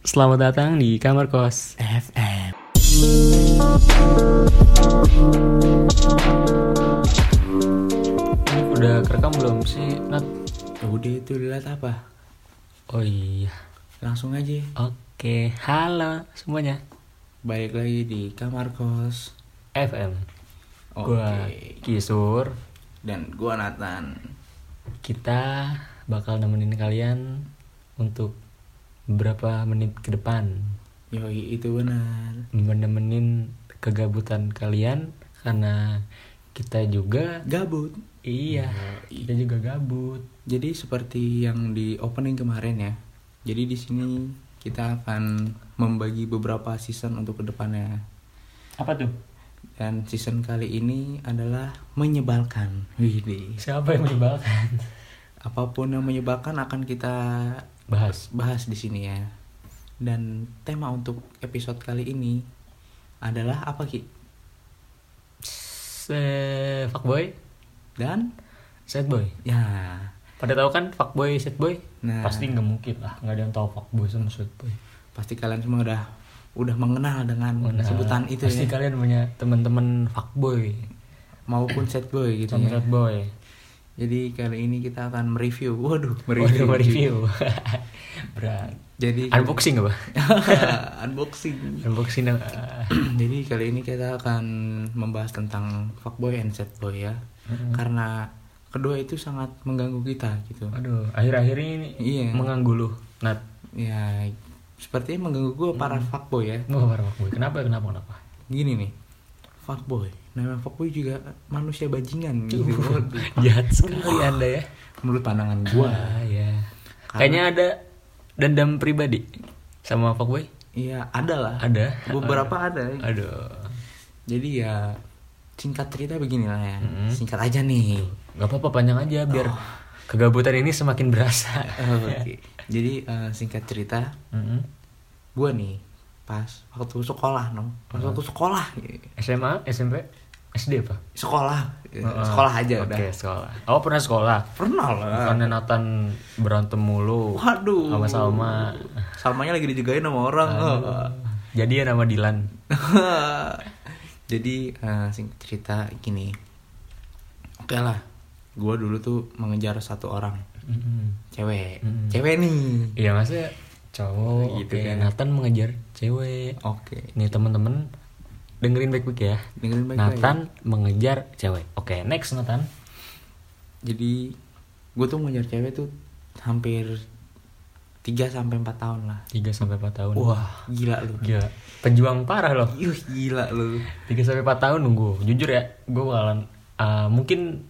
Selamat datang di Kamar Kos FM. Ini udah kerekam belum sih, Nat? Udah itu lihat apa? Oh iya. Langsung aja Oke, halo semuanya. balik lagi di kamar kos. FM. Oke. Gua Kisur. Dan gua Nathan. Kita bakal nemenin kalian untuk beberapa menit ke depan Yoi itu benar. menemenin kegabutan kalian karena kita juga Gabut. iya, kita juga gabut. Jadi seperti yang di opening kemarin ya. Jadi di sini kita akan membagi beberapa season untuk kedepannya. Apa tuh? Dan season kali ini adalah menyebalkan. Wih Siapa yang menyebalkan? Apapun yang menyebalkan akan kita Bahas. bahas di sini ya. Dan tema untuk episode kali ini adalah apa Ki? Se Eh, fuckboy, Dan sad boy. ya Pada tahu kan fuckboy, sad boy? Nah. Pasti nggak mungkin lah, nggak ada yang tahu fuckboy sama sad boy. pasti kalian semua udah udah mengenal dengan Nah, sebutan itu pasti ya. kalian punya teman-teman fuckboy Maupun set boy gitu sama ya. sad boy. Jadi kali ini kita akan mereview. Waduh, Waduh, review. Berat. Jadi Unboxing apa? unboxing. Unboxing eh, Jadi kali ini kita akan membahas tentang fuckboy and set boy ya. Mm-mm. Karena kedua itu sangat mengganggu kita gitu. Aduh, akhir-akhir ini Iya. mengganggu lu. Nat, Ya, sepertinya mengganggu gue para fuckboy ya. mau para fuckboy. Kenapa? Kenapa? Kenapa? Gini nih. Fuckboy. Namanya fuckboy juga manusia bajingan gitu. Waduh. Jahat sekali Anda ya. Menurut pandangan gue. Wah, ya. Kayaknya ada dendam pribadi sama fuckboy? Iya, ada lah. Ada. Beberapa ada. Aduh. Jadi ya singkat cerita beginilah ya. Mm-mm. Singkat aja nih. Gak apa-apa panjang aja biar Oh. kegabutan ini semakin berasa. Oke. Jadi eh, singkat cerita, Mm-mm. gue nih pas waktu sekolah, no. Pas waktu sekolah, SMA, SMP, SD apa? sekolah, Eh, sekolah aja Oke, udah. sekolah. Oh, pernah sekolah. Pernah lah. Bukannya Nathan berantem mulu. Waduh. Sama Salma. Salmanya lagi dijugain sama orang. Oh. Jadi ya nama Dilan. Jadi eh, singkat cerita gini. Oke lah, gue dulu tuh mengejar satu orang Mm-mm. cewek, Mm-mm. cewek nih. Iya maksudnya cowok Gitu gitu kan. Nathan mengejar cewek. Oke, Nih temen-temen dengerin baik-baik ya. dengerin baik-baik. Nathan mengejar cewek. Oke, next Nathan. Jadi gue tuh ngejar cewek tuh hampir 3 sampai 4 tahun lah. 3 sampai 4 tahun. Wah, gila lu. Gila, penjuang parah loh. Yuh, gila lu. 3 sampai 4 tahun nunggu. Jujur ya, gue bakalan ah, mungkin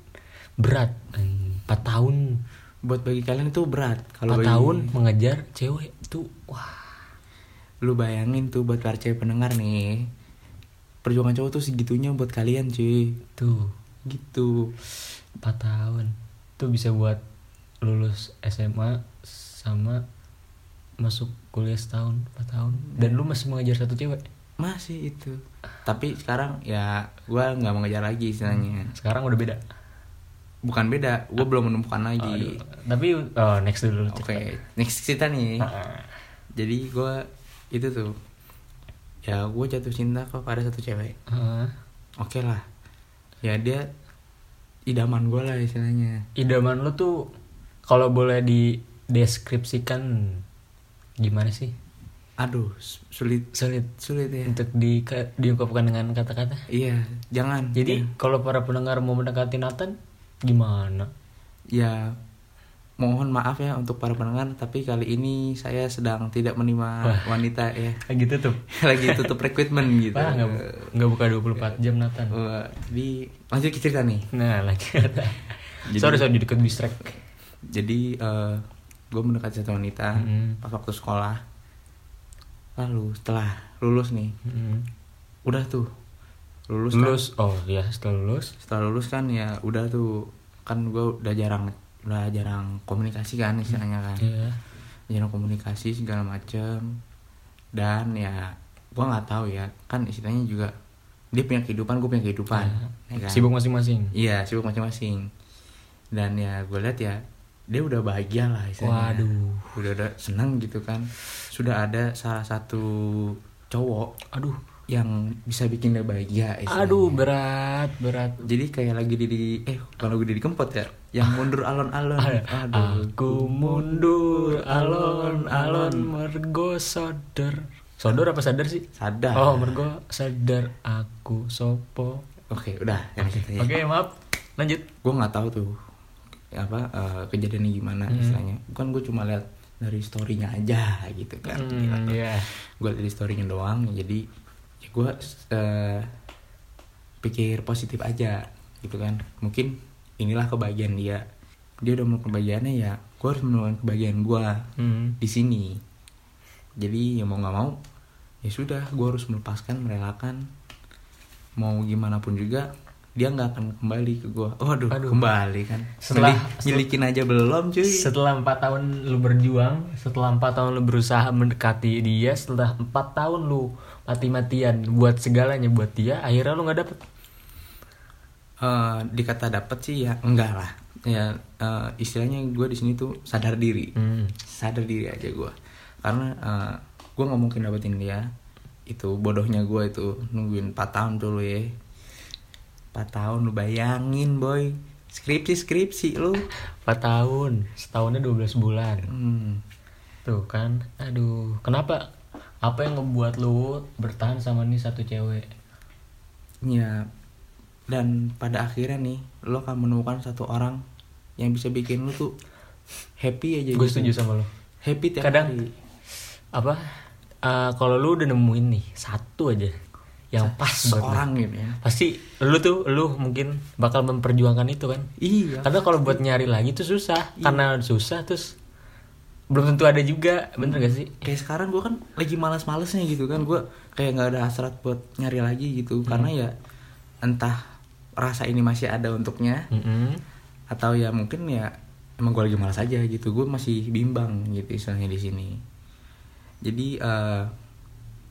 berat Hmm, 4 tahun. Buat bagi kalian itu berat. 4 Kalau bagi tahun mengejar cewek itu wah. lu bayangin tuh buat para cewek pendengar nih. Perjuangan cowok tuh segitunya buat kalian, cuy. Tuh, Gitu. 4 tahun. Tuh bisa buat lulus SMA sama masuk kuliah setahun, 4 tahun. Dan lu masih mengejar satu cewek. Masih itu. Tapi sekarang ya gua nggak mengejar lagi istilahnya. Sekarang udah beda. Bukan beda, gua belum menemukan Aduh, lagi. tapi oh, next dulu. Oke, next cerita nih. Ah. jadi gue itu tuh ya gue jatuh cinta kepada satu cewek Ah. oke lah ya dia idaman gue lah istilahnya idaman lu tuh kalau boleh dideskripsikan gimana sih? aduh su- sulit Sulit sulit ya untuk di diungkapkan dengan kata-kata. iya jangan Jadi kalau para pendengar mau mendekati Nathan gimana? ya mohon maaf ya untuk para pendengar tapi kali ini saya sedang tidak menerima wanita ya Kayak gitu tuh. lagi tutup recruitment gitu Iya. Oh. Wah, nggak bu- nggak buka 24 jam Nathan. Wah, jadi lanjut ke cerita nih Nah, lagi Jadi- sorry, sorry, deket distract. jadi gue mendekati satu wanita Mm. pas waktu sekolah lalu setelah lulus nih Mm. udah tuh lulus, kan. Lulus, oh ya setelah lulus. setelah lulus kan ya udah tuh kan gue udah jarang udah jarang komunikasi kan istilahnya kan Iya. jarang komunikasi segala macem dan ya gue nggak tahu ya kan istilahnya juga dia punya kehidupan gue punya kehidupan ya kan? Sibuk masing-masing. iya sibuk masing-masing dan ya gue lihat ya dia udah bahagia lah istilahnya Waduh. udah udah seneng gitu kan sudah ada salah satu cowok aduh yang bisa bikin dia bahagia istilahnya. aduh berat berat jadi kayak lagi di, di- eh bukan lagu di kempot ya yang mundur alon-alon Ah, ya. aduh aku mundur alon alon mergo sodor sodor apa sadar sih sadar oh mergo sadar aku sopo oke udah yang kita oke maaf lanjut gue nggak tahu tuh apa eh, kejadiannya gimana Hmm. istilahnya bukan gue cuma lihat dari storynya aja gitu kan Hmm, iya. gue dari storynya doang jadi ya gue pikir positif aja gitu kan mungkin inilah kebahagiaan dia dia udah melakukan kebahagiaannya ya gue harus melakukan kebahagiaan gue Hmm. di sini jadi ya mau nggak mau ya sudah gue harus melepaskan merelakan mau gimana pun juga dia nggak akan kembali ke gue waduh Aduh. kembali kan Setelah- Mili- milikin aja belum cuy Setelah empat tahun lu berjuang, setelah empat tahun lu berusaha mendekati dia, setelah empat tahun lu mati-matian buat segalanya buat dia, akhirnya lu nggak dapet. Eh, dikata dapat sih ya enggak lah ya eh, istilahnya gue di sini tuh sadar diri Hmm. sadar diri aja gue karena gue nggak mungkin dapetin dia itu bodohnya gue itu nungguin 4 tahun dulu ya 4 tahun lu bayangin boy skripsi skripsi lu Empat tahun, setahunnya 12 bulan. Hmm. Tuh kan, aduh, kenapa? Apa yang ngebuat lu bertahan sama nih satu cewek? ya dan pada akhirnya nih lo akan menemukan satu orang yang bisa bikin lu tuh happy aja Gue gitu. setuju sama lu. happy tiap Kadang- hari Apa? eh, kalau lu udah nemuin nih satu aja yang pas buat lu. seorang gitu ya Pasti lu tuh lu mungkin bakal memperjuangkan itu kan? iya Karena kalau buat nyari lagi tuh susah. Karena susah terus belum tentu ada juga, bener gak sih? kayak sekarang gue kan lagi malas-malesnya gitu kan gue kayak nggak ada hasrat buat nyari lagi gitu karena ya entah rasa ini masih ada untuknya Mm-mm. atau ya mungkin ya emang gue lagi malas aja gitu gue masih bimbang gitu istilahnya di sini jadi eh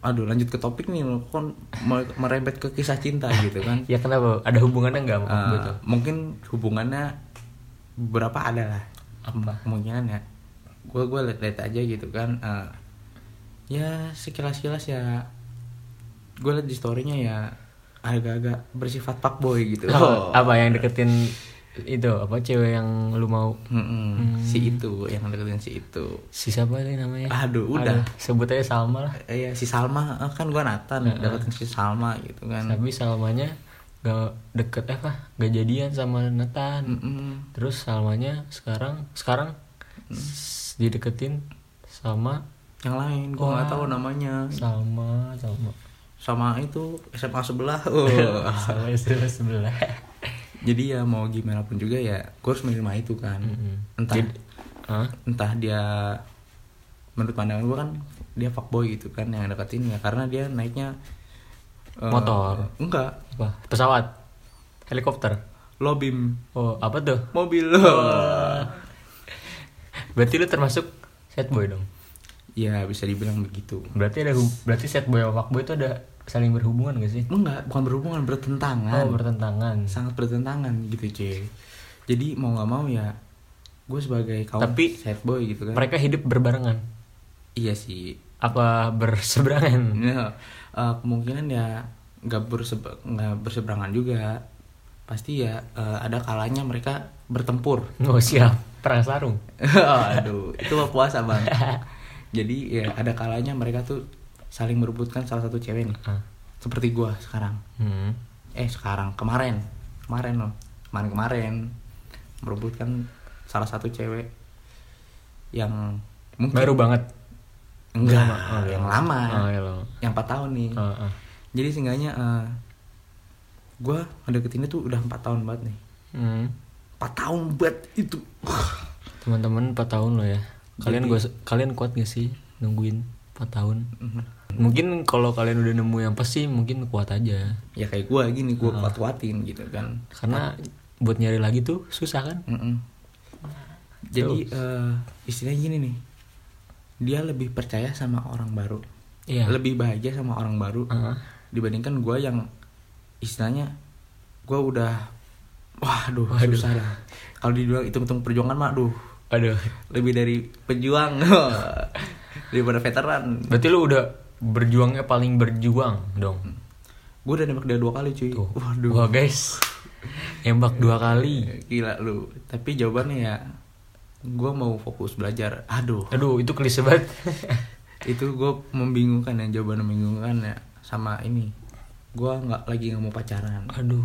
aduh lanjut ke topik nih lo kon mere- merembet ke kisah cinta gitu kan Ya kenapa? Ada hubungannya nggak sama Eh, gue tuh? mungkin hubungannya berapa ada lah Apa? kemungkinan ya gue gue lihat aja gitu kan eh, ya sekilas kilas ya gue liat di storynya ya agak-agak bersifat fuckboy gitu Apa- Apa yang deketin itu? Apa cewek yang lu mau? Mm-mm, si itu yang deketin si itu Si siapa tadi namanya? Aduh, udah. sebut aja Salma lah. eh, ya si Salma eh, kan gue Nathan deketin si Salma gitu kan Tapi Salmanya gak deket eh, apa? Gak jadian sama Hmm. Nathan. Mm-mm. Terus Salmanya sekarang sekarang Hmm. s- dideketin sama yang lain gue nggak tahu namanya Salma Salma sama itu SMA sebelah oh. sama istri lu sebelah. jadi ya mau gimana pun juga ya gue harus menerima itu kan Hmm. entah Hah? entah dia menurut pandangan gue kan dia fuckboy gitu kan yang deketin ya karena dia naiknya eh, Motor. enggak Apa? Pesawat. Helikopter. lobim Oh, apa tuh? mobil Oh. Berarti lu termasuk set boy dong. ya bisa dibilang begitu Berarti ada hub- berarti set boy sama fuckboy itu ada saling berhubungan gak sih? enggak bukan berhubungan bertentangan Oh, bertentangan. sangat bertentangan gitu cuy jadi mau nggak mau ya gue sebagai kaum Tapi- sad boy gitu kan Mereka hidup berbarengan. iya sih Apa berseberangan? Nah, eh, kemungkinan ya nggak bersebe- nggak berseberangan juga pasti ya eh, ada kalanya mereka bertempur Oh, siap. Perang sarung. aduh itu mah puasa bang jadi ya ada kalanya mereka tuh saling merebutkan salah satu cewek nih Ah. seperti gua sekarang Hmm. eh sekarang kemarin kemarin loh kemarin kemarin merebutkan salah satu cewek yang mungkin Baru banget. enggak Oh, yang iya. lama Oh, iya, lama. yang 4 tahun nih Ah, ah. jadi seenggaknya eh gue ngedeketinnya tuh udah empat tahun banget nih Hmm. 4 tahun banget itu Teman-teman 4 tahun lo ya. Kalian gua kalian kuat gak sih nungguin 4 tahun? Mungkin kalau kalian udah nemu yang pasti mungkin kuat aja. ya kayak gue gini gue kuat-kuatin gitu kan Karena buat nyari lagi tuh susah kan? Mm-mm. jadi eh istilahnya gini nih dia lebih percaya sama orang baru Iya. lebih bahagia sama orang baru Ah. dibandingkan gue yang istilahnya gue udah wah aduh susah dah kalau dibilang hitung-hitung perjuangan mah aduh Aduh. lebih dari pejuang daripada veteran Berarti lu udah berjuangnya paling berjuang dong. gue udah nembak dia dua kali cuy Tuh. waduh Wah, guys. Nembak dua kali. gila lu tapi jawabannya ya gue mau fokus belajar aduh Aduh, itu klise banget. itu gue membingungkan ya jawaban membingungkan ya sama ini gue nggak lagi nggak mau pacaran Aduh.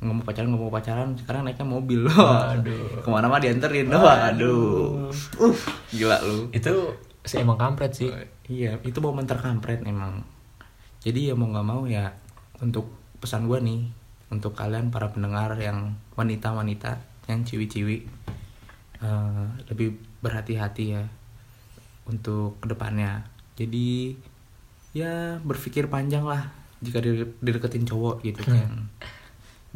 nggak mau pacaran nggak mau pacaran sekarang naiknya mobil aduh kemana mah dianterin aduh uh gila lu itu sih emang kampret sih. iya itu momen terkampret emang jadi ya mau nggak mau ya untuk pesan gue nih untuk kalian para pendengar yang wanita-wanita yang ciwi-ciwi eh, lebih berhati-hati ya untuk kedepannya jadi ya berpikir panjang lah jika dire- dideketin cowok gitu Hmm. kan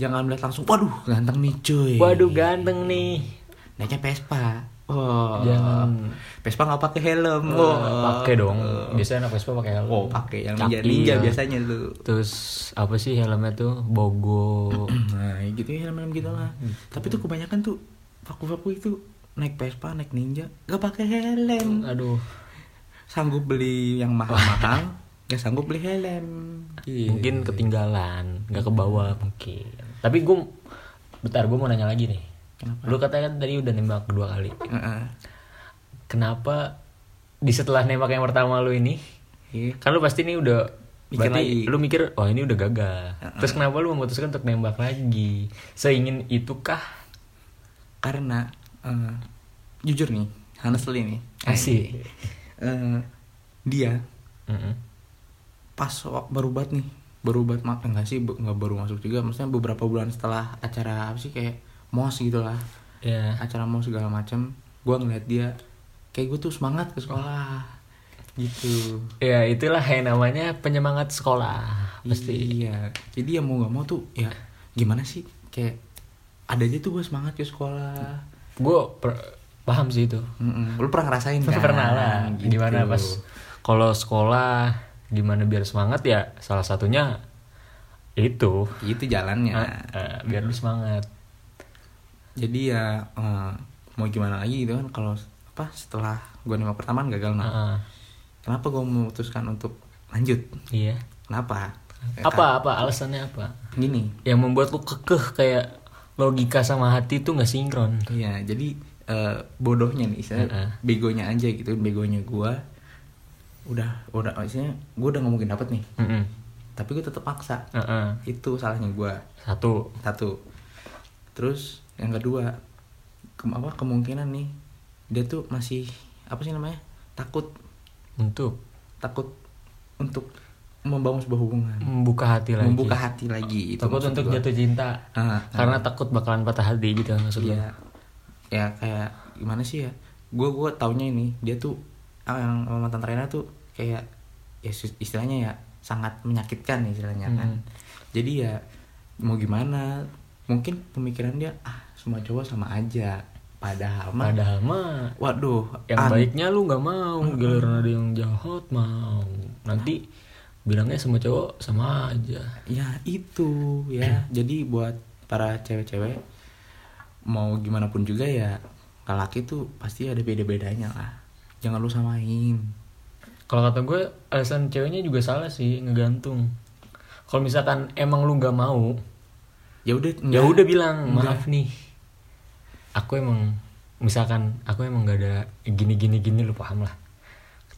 jangan melihat langsung waduh ganteng nih cuy Waduh, ganteng nih. naiknya Vespa oh Jangan. Vespa nggak pakai helm Oh, Wah. pakai dong. Biasanya anak Vespa pakai helm. Oh pakai yang Caki, ninja ninja ya. biasanya lu. Terus apa sih helmnya tuh? Bogo. Nah gitu ya helm gitu lah. Tapi tuh kebanyakan tuh vaku-vaku itu naik Vespa naik ninja gak pakai helm. Aduh. Sanggup beli yang mahal-mahal, gak sanggup beli helm. Iya. Mungkin ketinggalan, nggak ke bawah mungkin. Tapi gue bentar gue mau nanya lagi nih. Kenapa? Lu katanya kan tadi udah nembak dua kali. Heeh. Kenapa di setelah nembak yang pertama lu ini? Iya. Kan lu pasti ini udah Mikir berarti lagi. lu mikir, "Oh, ini udah gagal." Terus kenapa lu memutuskan untuk nembak lagi? Seingin itukah? Karena eh, jujur nih, honestly nih. Asih. Eh, dia Mm-mm. pas wak- baru banget nih baru banget mak enggak sih bu- nggak baru masuk juga maksudnya beberapa bulan setelah acara apa sih kayak mos gitu lah Ya. acara mau segala macem gue ngeliat dia kayak gue tuh semangat ke sekolah gitu Ya, itulah yang namanya penyemangat sekolah. Pasti. iya jadi ya mau nggak mau tuh ya gimana sih kayak ada aja tuh gue semangat ke sekolah Gue paham sih itu. Mm-mm. lu pernah ngerasain kan pernah lah Gitu. gimana pas kalau sekolah gimana biar semangat ya salah satunya itu itu Gitu jalannya Eh, eh, biar lu semangat jadi ya eh, mau gimana lagi gitu kan kalau apa setelah gue nembak pertama kan gagal nah Heeh. kenapa gue memutuskan untuk lanjut iya kenapa Ya, apa apa alasannya apa kan, gini yang membuat lu kekeh kayak logika sama hati tuh nggak sinkron Iya, jadi eh, bodohnya nih, istilahnya Heeh. begonya aja gitu, begonya gua udah udah istilahnya gua udah nggak mungkin dapet nih, Mm-mm. tapi gua tetap maksa. Heeh. Itu salahnya gua. satu Satu. Terus yang kedua, ke- apa kemungkinan nih dia tuh masih apa sih namanya? takut untuk takut untuk membangun sebuah hubungan, membuka hati lagi membuka hati lagi itu. takut maksud untuk gua. jatuh cinta Ah, ah. karena takut bakalan patah hati gitu maksud lu. Iya. Ya kayak gimana sih ya? Gue gue taunya ini dia tuh ah, yang mantan trainer tuh kayak ya sus- istilahnya ya sangat menyakitkan istilahnya kan. Hmm. Jadi ya mau gimana? Mungkin pemikiran dia ah semua cowok sama aja. Padahal mah padahal mah waduh yang an- baiknya lu nggak mau giliran ada yang jahat mau nanti bilangnya sama cowok sama aja ya itu ya. Jadi buat para cewek-cewek mau gimana pun juga ya kalau laki tuh pasti ada beda-bedanya lah. Jangan lu samain. kalau kata gue alasan ceweknya juga salah sih ngegantung kalau misalkan emang lu nggak mau ya udah ya enggak. udah bilang maaf nih aku emang misalkan aku emang nggak ada gini gini gini lu paham lah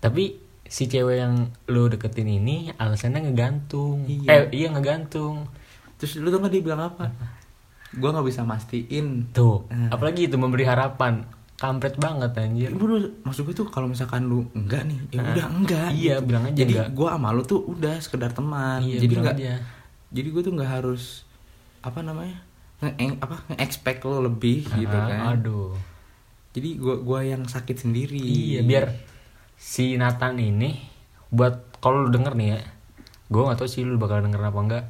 tapi si cewek yang lu deketin ini alasannya ngegantung eh Iya. iya ngegantung terus lu tuh nggak dia bilang apa gua nggak bisa mastiin tuh Hmm. apalagi itu memberi harapan kampret banget anjir Ibu lu maksud gue tuh kalau misalkan lu enggak nih ya udah enggak Iya, bilang aja jadi enggak. gua sama lu tuh udah sekedar teman Iya, jadi bilang enggak aja. jadi gue tuh nggak harus apa namanya nge apa nge-expect lu lebih gitu Ah, kan Aduh. jadi gua gua yang sakit sendiri Iya, biar si Nathan ini buat kalau lu denger nih ya. Gue gak tau sih lu bakal denger apa enggak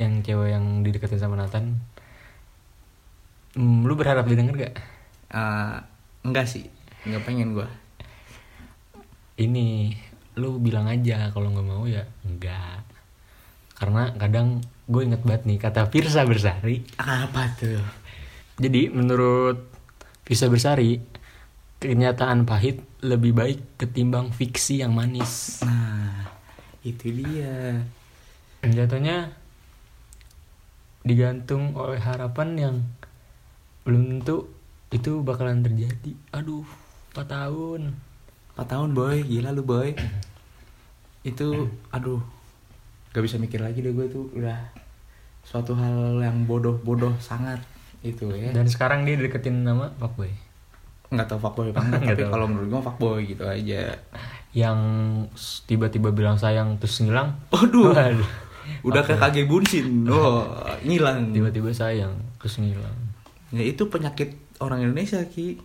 yang cewek yang dideketin sama Nathan. Hmm, lu berharap dia denger gak? Eh, enggak sih enggak pengen gua Ini lu bilang aja kalau nggak mau ya enggak. Karena kadang gue inget banget nih kata Firsa Bersari apa tuh Jadi menurut Visa Bersari, kenyataan pahit lebih baik ketimbang fiksi yang manis Nah, itu dia. jatuhnya digantung oleh harapan yang belum tentu itu bakalan terjadi aduh 4 tahun 4 tahun boy, gila lu boy. Itu, aduh, gak bisa mikir lagi deh gue itu udah suatu hal yang bodoh-bodoh sangat itu ya. dan sekarang dia deketin nama Pak Boy nggak tahu fuckboy apa enggak, Nggak tapi tahu. kalau menurut gue fuckboy gitu aja. yang s- tiba-tiba bilang sayang terus ngilang Waduh, Waduh. udah kayak kage bunsin, oh, ngilang. tiba-tiba sayang terus ngilang Ya itu penyakit orang Indonesia ki.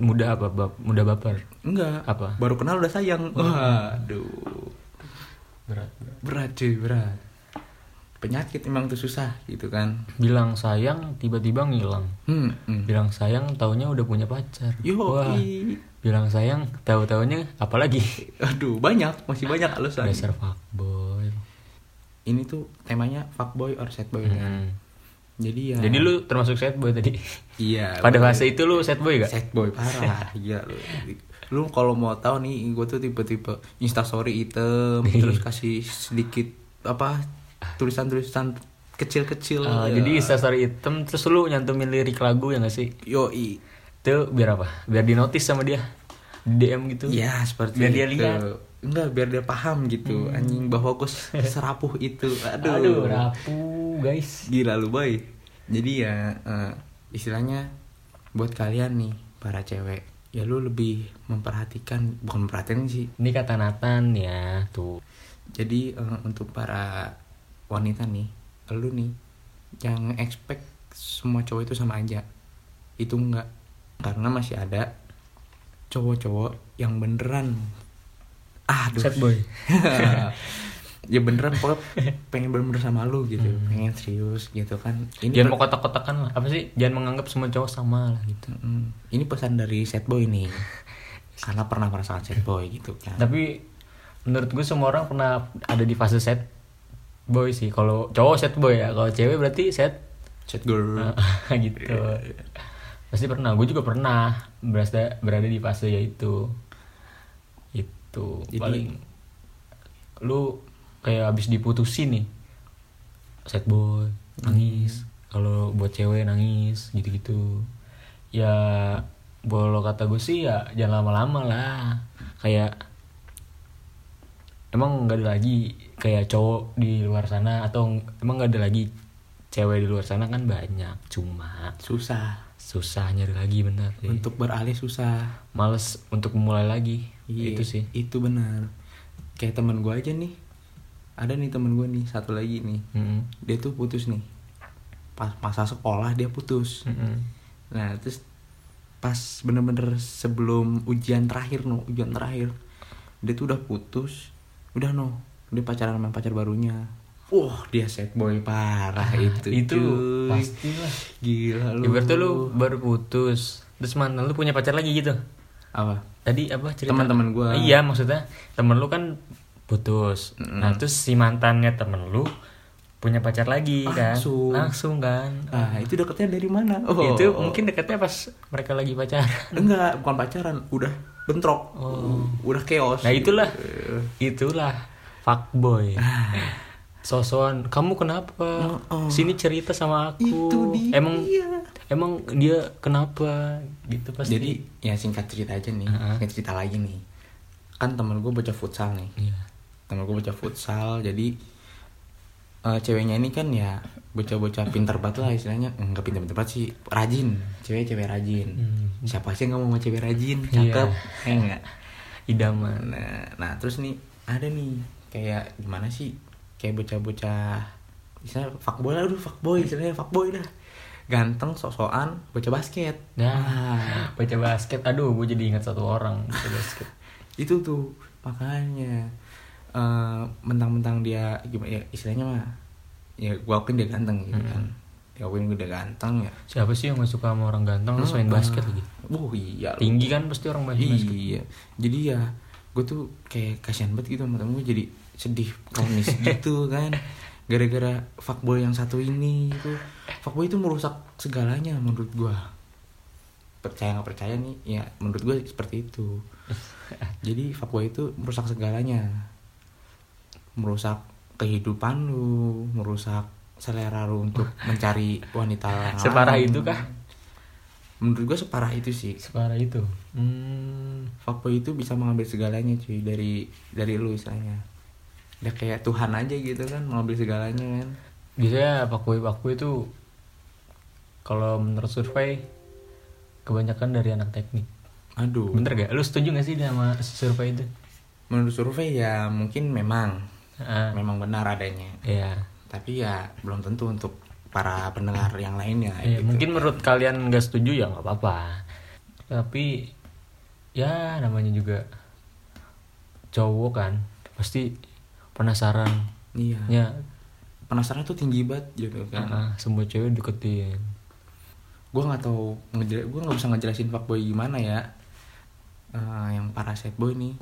mudah apa bab mudah baper Enggak. Apa? Oh. Baru kenal udah sayang. Waduh. berat Berat cuy, berat. Penyakit emang tuh susah gitu kan. bilang sayang tiba-tiba ngilang Hmm. hmm. bilang sayang taunya udah punya pacar Yo. wah bilang sayang tahu taunya apalagi Aduh, banyak, masih banyak alasan. dasar fuckboy Ini tuh temanya fuckboy or sad boy kan. Hmm. Jadi ya jadi lu termasuk sad boy tadi iya. Nah. pada bener. fase itu lu sad boy gak sad boy parah gila lu. Lu kalau mau tahu nih gue tuh tipe-tipe instastory item terus kasih sedikit apa tulisan-tulisan kecil-kecil. Eh, Ya. jadi instastory item terus lu nyantumin lirik lagu ya gak sih yoi. itu biar apa biar di notice sama dia Di DM gitu Ya seperti Biar dia itu. lihat. Hmm. Enggak biar dia paham gitu anjing bahwa gue serapuh itu. Aduh. aduh rapuh guys Gila lu boy. Jadi ya eh, istilahnya buat kalian nih para cewek ya lu lebih memperhatikan bukan memperhatikan sih ini kata Nathan ya tuh jadi eh, untuk para wanita nih lu nih yang expect semua cowok itu sama aja itu enggak karena masih ada cowok-cowok yang beneran ah aduh. sad boy ya beneran pokoknya pengen bener-bener sama lu gitu pengen serius gitu kan ini jangan per- mau kotak-kotakan lah apa sih jangan menganggap semua cowok sama lah gitu Mm, ini pesan dari set boy nih karena pernah merasakan set boy gitu kan tapi menurut gue semua orang pernah ada di fase set boy sih kalau cowok set boy ya kalau cewek berarti set set girl gitu pasti pernah gue juga pernah berada berada di fase yaitu itu Jadi- paling lu kayak abis diputusin nih set boy nangis kalau buat cewek nangis gitu-gitu ya bolo kata gue sih ya jangan lama-lama lah kayak emang nggak ada lagi kayak cowok di luar sana atau emang nggak ada lagi cewek di luar sana kan banyak cuma susah susah nyari lagi bener sih. untuk beralih susah males untuk memulai lagi Iya, itu sih Itu benar. Kayak teman gue aja nih. Ada nih teman gue nih satu lagi nih. Mm-mm. Dia tuh putus nih. Pas masa sekolah dia putus. Mm-mm. Nah terus pas bener-bener sebelum ujian terakhir no ujian terakhir dia tuh udah putus udah no dia pacaran sama pacar barunya wah dia sad boy parah Ah, itu itu cuy. pastilah gila lu ibaratnya lu baru putus terus mantan lu punya pacar lagi gitu apa tadi apa cerita Teman-teman gua. iya maksudnya temen lu kan putus nah terus si mantannya temen lu punya pacar lagi kan Langsung. langsung kan ah itu deketnya dari mana oh. itu mungkin dekatnya pas mereka lagi pacaran Enggak, bukan pacaran, udah bentrok. Udah chaos. Nah itulah, Iya. itulah fuckboy. Sosokan, kamu kenapa? Sini cerita sama aku. Itu dia. Emang emang dia kenapa? Gitu pasti. Jadi ya singkat cerita aja nih, singkat cerita lagi nih. Kan temen gue bocah futsal nih. Iya. Temen gue bocah futsal, jadi eh, ceweknya ini kan ya bocah-bocah pintar banget lah istilahnya. Enggak pintar-pintar banget sih, rajin. Cewek-cewek rajin. Siapa sih yang nggak mau sama cewek rajin? Cakep. Ya enggak. idaman. Nah, nah terus nih ada nih kayak gimana sih kayak bocah-bocah misalnya fuckboy lah udah fuckboy istilahnya fuckboy dah ganteng sok-sokan bocah basket Nah, baca basket. Aduh, gue jadi ingat satu orang baca basket. itu tuh makanya eh, mentang-mentang dia gimana ya istilahnya mah ya gua akuin dia ganteng gitu kan dia akuin dia ganteng ya Siapa sih yang gak suka sama orang ganteng terus main basket lagi? wah iya lu. Tinggi kan pasti orang main basket. Iya. Jadi ya gue tuh kayak kasihan banget gitu sama temen gue jadi sedih kronis gitu kan. Gara-gara gitu. fuckboy yang satu ini itu. Fuckboy itu merusak segalanya menurut gua percaya nggak percaya nih ya menurut gue seperti itu jadi fuckboy itu merusak segalanya merusak kehidupan lu merusak selera lu untuk mencari wanita lain Separah itu kah? menurut gue separah itu sih separah itu Hmm, fuckboy itu bisa mengambil segalanya cuy dari dari lu misalnya udah kayak Tuhan aja gitu kan mengambil segalanya kan biasanya pakui-pakui itu kalau menurut survei kebanyakan dari anak teknik. aduh Bener gak? Lu setuju gak sih sama survei itu? menurut survei ya mungkin memang Ah, memang benar adanya Iya. tapi ya belum tentu untuk para pendengar yang lainnya Iya, gitu. mungkin menurut kalian nggak setuju ya nggak apa-apa. Tapi ya namanya juga cowok kan pasti penasaran. iya Ya, penasaran tuh tinggi banget gitu kan ah, semua cewek deketin. gue nggak tahu ngejel gue nggak bisa ngejelasin fuckboy gimana ya Eh, yang para set boy nih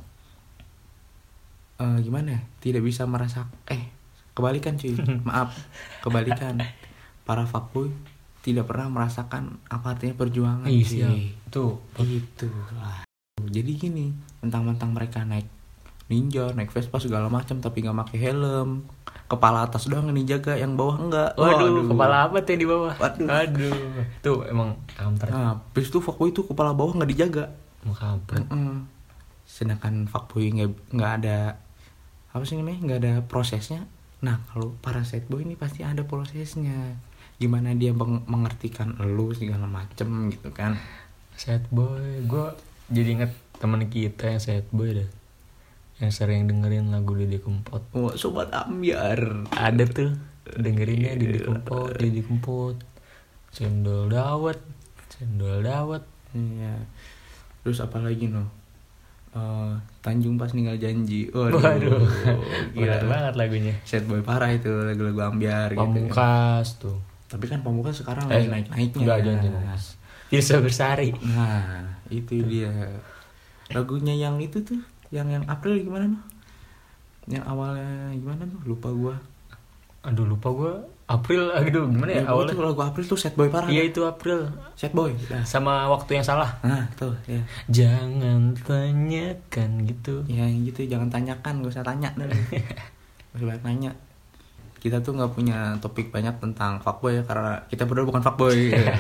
Eh, gimana ya? tidak bisa merasa eh kebalikan cuy maaf kebalikan para fuckboy tidak pernah merasakan apa artinya perjuangan Ih, cuy. siap. Tuh, gitu lah jadi gini mentang-mentang mereka naik ninja naik vespa segala macam tapi nggak pakai helm kepala atas doang yang dijaga yang bawah enggak Waduh, kepala apa tuh yang di bawah? Waduh. Aduh. Tuh emang kampret. nah habis itu fuckboy itu kepala bawah nggak dijaga Emang kampret. Mm-mm. sedangkan fuckboy nggak nggak ada apa sih namanya nggak ada prosesnya nah kalau para sad boy ini pasti ada prosesnya gimana dia meng- mengertikan lu segala macem gitu kan Sad boy. Gue jadi inget temen kita yang sad boy dah. Yang sering dengerin lagu Didi Kempot. Wah, sobat ambiar Ada tuh dengerinnya Didi Kempot, Didi Kempot. Cendol dawet, cendol dawet. Iya. Terus apa lagi no? Eh, Tanjung pas ninggal janji. Waduh. Waduh. Iya. Bener Gila. banget lagunya. Sad boy parah itu lagu-lagu ambiar gitu. kan. Pamungkas tuh. Tapi kan pamungkas sekarang Eh, lagi naik-naiknya. enggak jangan Pamungkas. Tirsa Bersari. Nah, itu dia. Lagunya yang itu tuh, yang yang April gimana no? Yang awalnya gimana tuh? Lupa gua. Aduh lupa gue. April, aduh gimana ya Ya, awalnya? awalnya tuh lagu April tuh sad boy parah. Iya itu April. Sad boy. Nah, sama waktu yang salah Nah, tuh ya. jangan tanyakan gitu ya yang gitu jangan tanyakan gak usah tanya dulu gak usah banyak nanya kita tuh nggak punya topik banyak tentang fuckboy ya karena kita berdua bukan fuckboy Ya.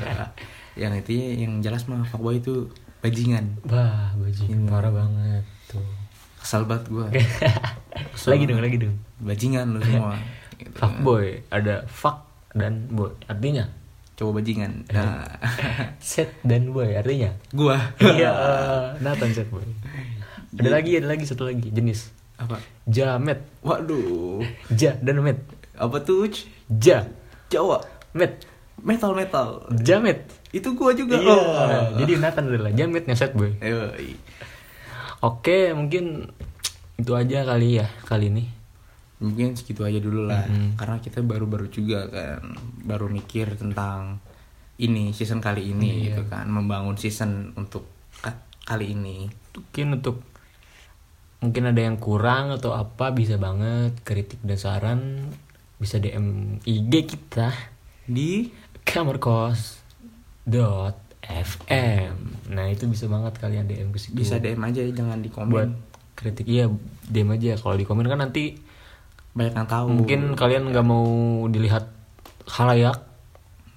yang itu yang jelas mah fuckboy itu bajingan wah bajingan Iya. parah banget tuh kesel banget gue lagi dong lagi dong bajingan lu semua gitu. fuckboy ada fuck dan boy artinya coba bajingan Eh. nah set dan boy artinya gue iya Nathan set boy ada lagi ada lagi satu lagi jenis apa jamet waduh ja dan met apa tuh Uj? ja Jawa met metal metal jamet itu gue juga Iya, Oh. jadi Nathan adalah jametnya set boy. Yoi. Oke, mungkin itu aja kali ya kali ini. mungkin segitu aja dulu lah Mhm. karena kita baru-baru juga kan baru mikir tentang ini season kali Iya. ini gitu kan membangun season untuk ka- kali ini mungkin untuk mungkin ada yang kurang atau apa bisa banget kritik dan saran bisa DM IG kita di kamarkos dot fm nah itu bisa banget kalian DM ke situ bisa DM aja ya, jangan di Iya. komen buat kritik iya DM aja kalau di komen kan nanti banyak yang tahu mungkin kalian nggak mau dilihat halayak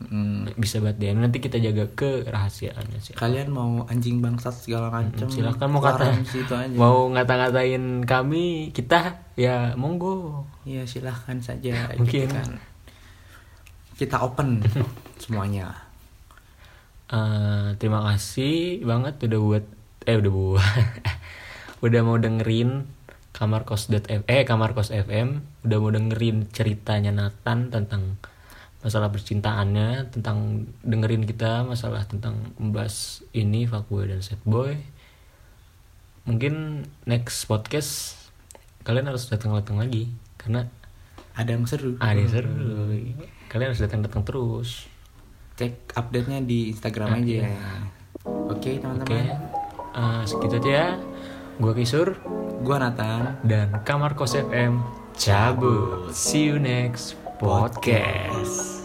Mm. bisa buat DM nanti kita jaga kerahasiaannya sih kalian mau anjing bangsat segala macam silahkan mau kata keluaran situ aja mau ngata-ngatain kami kita ya monggo ya silahkan saja gitu Mungkin. kan. kita open semuanya Eh, terima kasih banget udah buat eh udah buat udah mau dengerin kamar kos eh kamar kos fm udah mau dengerin ceritanya Nathan tentang masalah percintaannya tentang dengerin kita masalah tentang membahas ini fuckboy dan sad boy mungkin next podcast kalian harus datang-datang lagi karena ada yang seru ada yang seru kalian harus datang-datang terus cek update nya di Instagram aja ya oke teman-teman Oke, eh, segitu aja ya. Gue Kisur gua Nathan dan Kamar Kos FM cabut. See you next podcast.